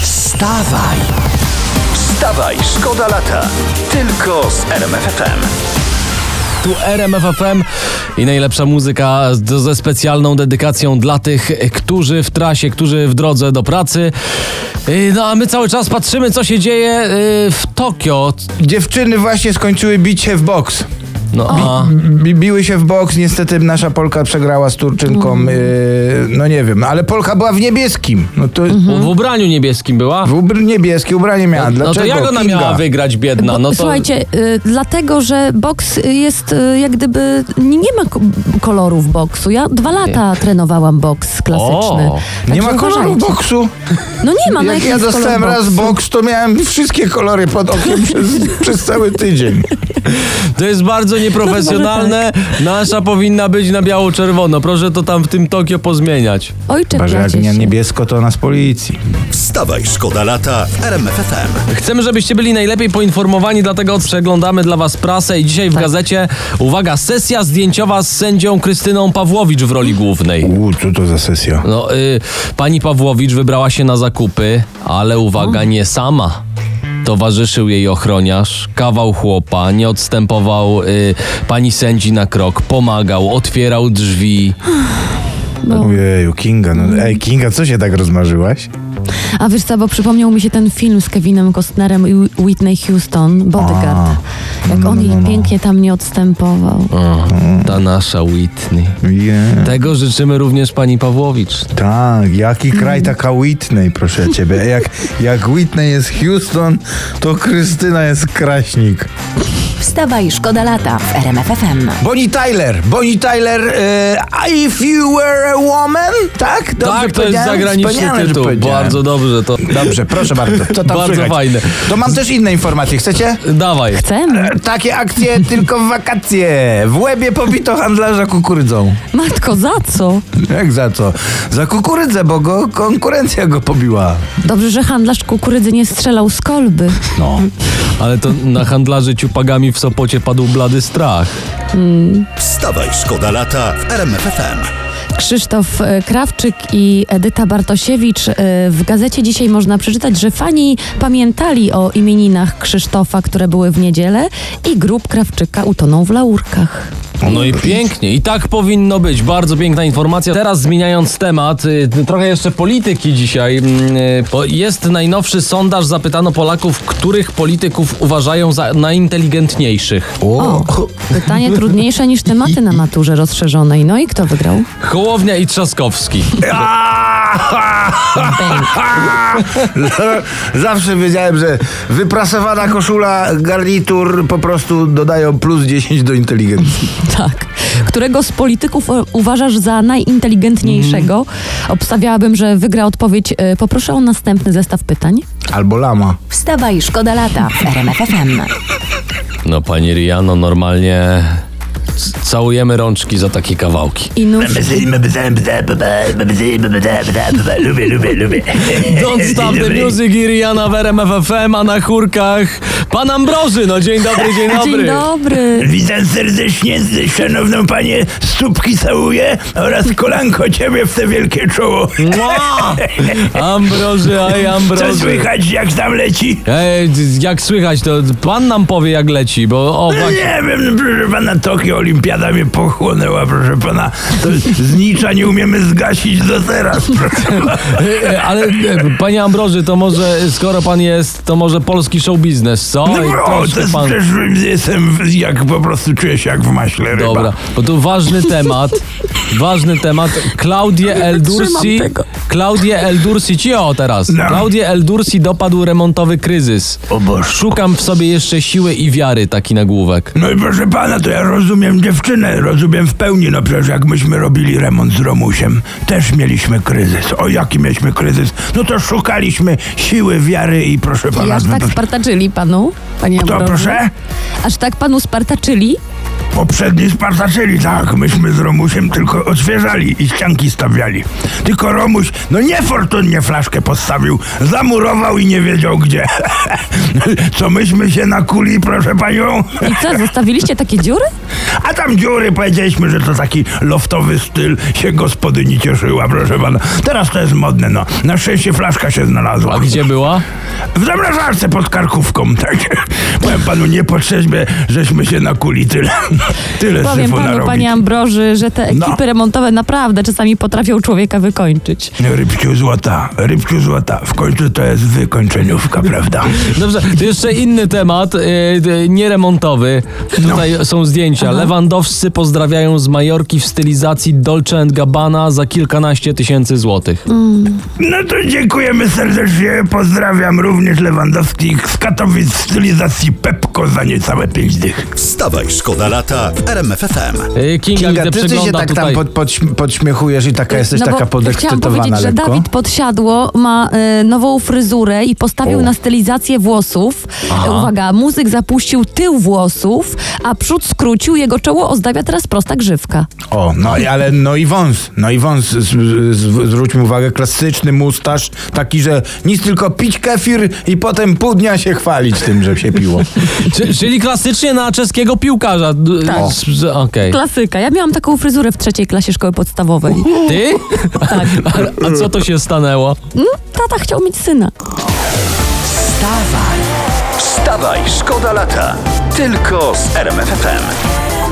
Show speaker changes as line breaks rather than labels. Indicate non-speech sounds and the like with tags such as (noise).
Wstawaj! Wstawaj, szkoda lata. Tylko z RMFFM.
Tu RMF FM i najlepsza muzyka z- ze specjalną dedykacją dla tych, którzy w trasie, którzy w drodze do pracy. Yy, No a my cały czas patrzymy, co się dzieje yy, w Tokio.
Dziewczyny właśnie skończyły bić się w boks.
No, a,
Bi biły się w boks, niestety nasza Polka przegrała z Turczynką,
Mhm.
yy, no nie wiem, ale Polka była w niebieskim. No to
w ubraniu niebieskim była.
w ubr niebieskie ubranie miała.
No
Dlaczego?
to jak ona
Kinga?
miała wygrać, biedna?
Bo-
No to...
Słuchajcie, y, dlatego, że boks y, jest y, jak gdyby. Nie nie ma ko- kolorów boksu. Ja dwa lata trenowałam boks klasyczny.
O,
Nie
Także
ma koloru
uważajcie.
boksu.
No nie ma, no
Jak
jaki
ja
jest
dostałem
kolor
raz
boksu?
boks, to miałem wszystkie kolory pod
(laughs)
okiem przez, przez cały tydzień.
To jest bardzo nieprofesjonalne. Nasza powinna być na biało-czerwono. Proszę to tam w tym Tokio pozmieniać.
Oj,
Boże, jak
czepiacie
nie
się.
niebiesko, to ona z policji.
Wstawaj, szkoda lata w RMFFM.
Chcemy, żebyście byli najlepiej poinformowani, dlatego przeglądamy dla Was prasę i dzisiaj w
Tak.
gazecie, uwaga, sesja zdjęciowa z sędzią Krystyną Pawłowicz w roli głównej.
U, co to za sesja?
No, y, pani Pawłowicz wybrała się na zakupy, ale uwaga, nie sama. Towarzyszył jej ochroniarz, kawał chłopa, nie odstępował y, pani sędzi na krok, pomagał, otwierał drzwi.
Ojeju, Kinga, no ej, Kinga, co się tak rozmarzyłaś?
A wiesz co, bo przypomniał mi się ten film z Kevinem Costnerem i Whi- Whitney Houston, Bodyguard.
no,
Jak on jej pięknie tam nie odstępował.
O, ta nasza Whitney.
Yeah.
Tego życzymy również pani Pawłowicz.
Tak, jaki kraj taka Whitney, proszę ciebie. Jak, jak Whitney jest Houston, to Krystyna jest Kraśnik.
Wstawaj, szkoda lata w RMF FM.
Bonnie Tyler, Bonnie Tyler, e, If You Were a Woman, tak? Dobrze
tak, to jest
powiedziałem?
zagraniczny
Wspaniale, że
tytuł.
powiedziałem.
Bardzo dobrze to.
Dobrze, proszę bardzo. Co tam
Bardzo
słychać?
fajne.
To mam też inne informacje, chcecie? E,
Dawaj.
Chcemy.
Takie
(laughs)
akcje tylko w wakacje. W łebie pobito handlarza kukurydzą.
Matko, za co?
Jak za co? Za kukurydzę, bo go konkurencja go pobiła.
Dobrze, że handlarz kukurydzy nie strzelał z kolby.
No.
Ale to na handlarzy ciupagami w Sopocie padł blady strach.
Wstawaj, szkoda lata w RMFFM.
Krzysztof e, Krawczyk i Edyta Bartosiewicz. e, W gazecie dzisiaj można przeczytać, że fani pamiętali o imieninach Krzysztofa, które były w niedzielę i grób Krawczyka utonął w laurkach.
No i pięknie. I tak powinno być. Bardzo piękna informacja. Teraz zmieniając temat, y, trochę jeszcze polityki dzisiaj. mm, y, bo Jest najnowszy sondaż. Zapytano Polaków, których polityków uważają za najinteligentniejszych.
O, pytanie trudniejsze niż tematy na maturze rozszerzonej. No i kto wygrał? (laughs)
Hołownia i Trzaskowski.
Zawsze wiedziałem, że wyprasowana koszula, garnitur po prostu dodają plus 10 do inteligencji.
Tak. Którego z polityków e, uważasz za najinteligentniejszego? Obstawiałabym, że wygra odpowiedź. e, Poproszę o następny zestaw pytań.
Albo lama.
Wstawaj, szkoda lata w RMF FM.
No pani Riano, normalnie c- całujemy rączki za takie kawałki.
I nóż
Lubię, lubię, lubię.
Don't Stop the Music i Rihanna w RMF FM, a na chórkach pan Ambroży. No dzień dobry, dzień dobry.
Dzień dobry.
Witam serdecznie, szanowną panie, stópki całuję oraz kolanko ciebie w te wielkie czoło.
Mua! Ambroży, aj
Co
Ambroży.
słychać, jak tam leci?
Ej, d- jak słychać, to pan nam powie jak leci, bo o
No
wak-
nie wiem, no proszę pana, Tokio Olimpiada mnie pochłonęła, proszę pana. To znicza nie umiemy zgasić do teraz, proszę pana.
e, e, ale e, panie Ambroży, to może skoro pan jest, to może polski show biznes, co?
No,
I
bro, to
troszkę
jest
pan-
też jestem w- jak po prostu czuję się jak w maśle ryba.
Dobra, bo tu ważny
(laughs)
temat, ważny temat. Klaudię
tak
Eldursi, Klaudię Eldursi, cio teraz.
No.
Klaudię Eldursi dopadł remontowy kryzys.
O Boże.
Szukam w sobie jeszcze siły i wiary, taki nagłówek.
No i proszę pana, to ja rozumiem dziewczynę, rozumiem w pełni, no przecież jak myśmy robili remont z Romusiem, też mieliśmy kryzys. O jaki mieliśmy kryzys? No to szukaliśmy siły, wiary i proszę pana...
Aż tak
no to-
spartaczyli panu, panie
Kto,
Ambroży?
proszę?
Aż tak panu spartaczyli?
Poprzedni spartaczyli, tak. Myśmy z Romusiem tylko odświeżali i ścianki stawiali. Tylko Romuś, no niefortunnie flaszkę postawił, zamurował i nie wiedział gdzie. (laughs) Co myśmy się nakuli, proszę panią?
I co, zostawiliście takie dziury?
(laughs) A tam dziury powiedzieliśmy, że to taki loftowy styl, się gospodyni cieszyła, proszę pana. Teraz to jest modne, no. Na szczęście flaszka się znalazła.
A gdzie była?
W zamrażarce pod karkówką, (laughs) tak. Powiem panu, nie po trzeźbie, żeśmy się nakuli tyle. Tyle
Powiem
syfu
panu,
narobili.
panie Ambroży, że te ekipy
No.
remontowe naprawdę czasami potrafią człowieka wykończyć.
Rybciu złota, rybciu złota. W końcu to jest wykończeniówka, prawda?
Dobrze, to jeszcze inny temat, y, y, nieremontowy. Tutaj
No.
są zdjęcia. Lewandowscy pozdrawiają z Majorki w stylizacji Dolce Gabbana za kilkanaście tysięcy złotych.
Mm.
No to dziękujemy serdecznie. Pozdrawiam również Lewandowskich z Katowic w stylizacji Pepko za niecałe pięć dych.
Wstawaj, szkoda lata w RMF FM.
Y, Kinga,
Kinga,
widzę,
ty, ty się
przegląda
tak
tutaj.
tam pod, podśm- podśmiechujesz i taka jesteś
No bo
taka
Chciałam
podekscytowana
powiedzieć, że
lekko.
Dawid Podsiadło ma e, nową fryzurę i postawił
O.
na stylizację włosów. E, Uwaga, muzyk zapuścił tył włosów, a przód skrócił, jego czoło ozdabia teraz prosta grzywka.
O, no i, ale no i wąs, no i wąs, z, z, z, zwróćmy uwagę, klasyczny mustaż, taki, że nic tylko pić kefir i potem pół dnia się chwalić tym, że się piło.
Czy, czyli klasycznie na czeskiego piłkarza. D-
Tak.
s- s- Okej.
Klasyka. Ja miałam taką fryzurę w trzeciej klasie szkoły podstawowej. Tak.
Ty? A, a co to się stanęło?
Mm, Tata chciał mieć syna.
Wstawaj, szkoda lata. Tylko z RMF FM.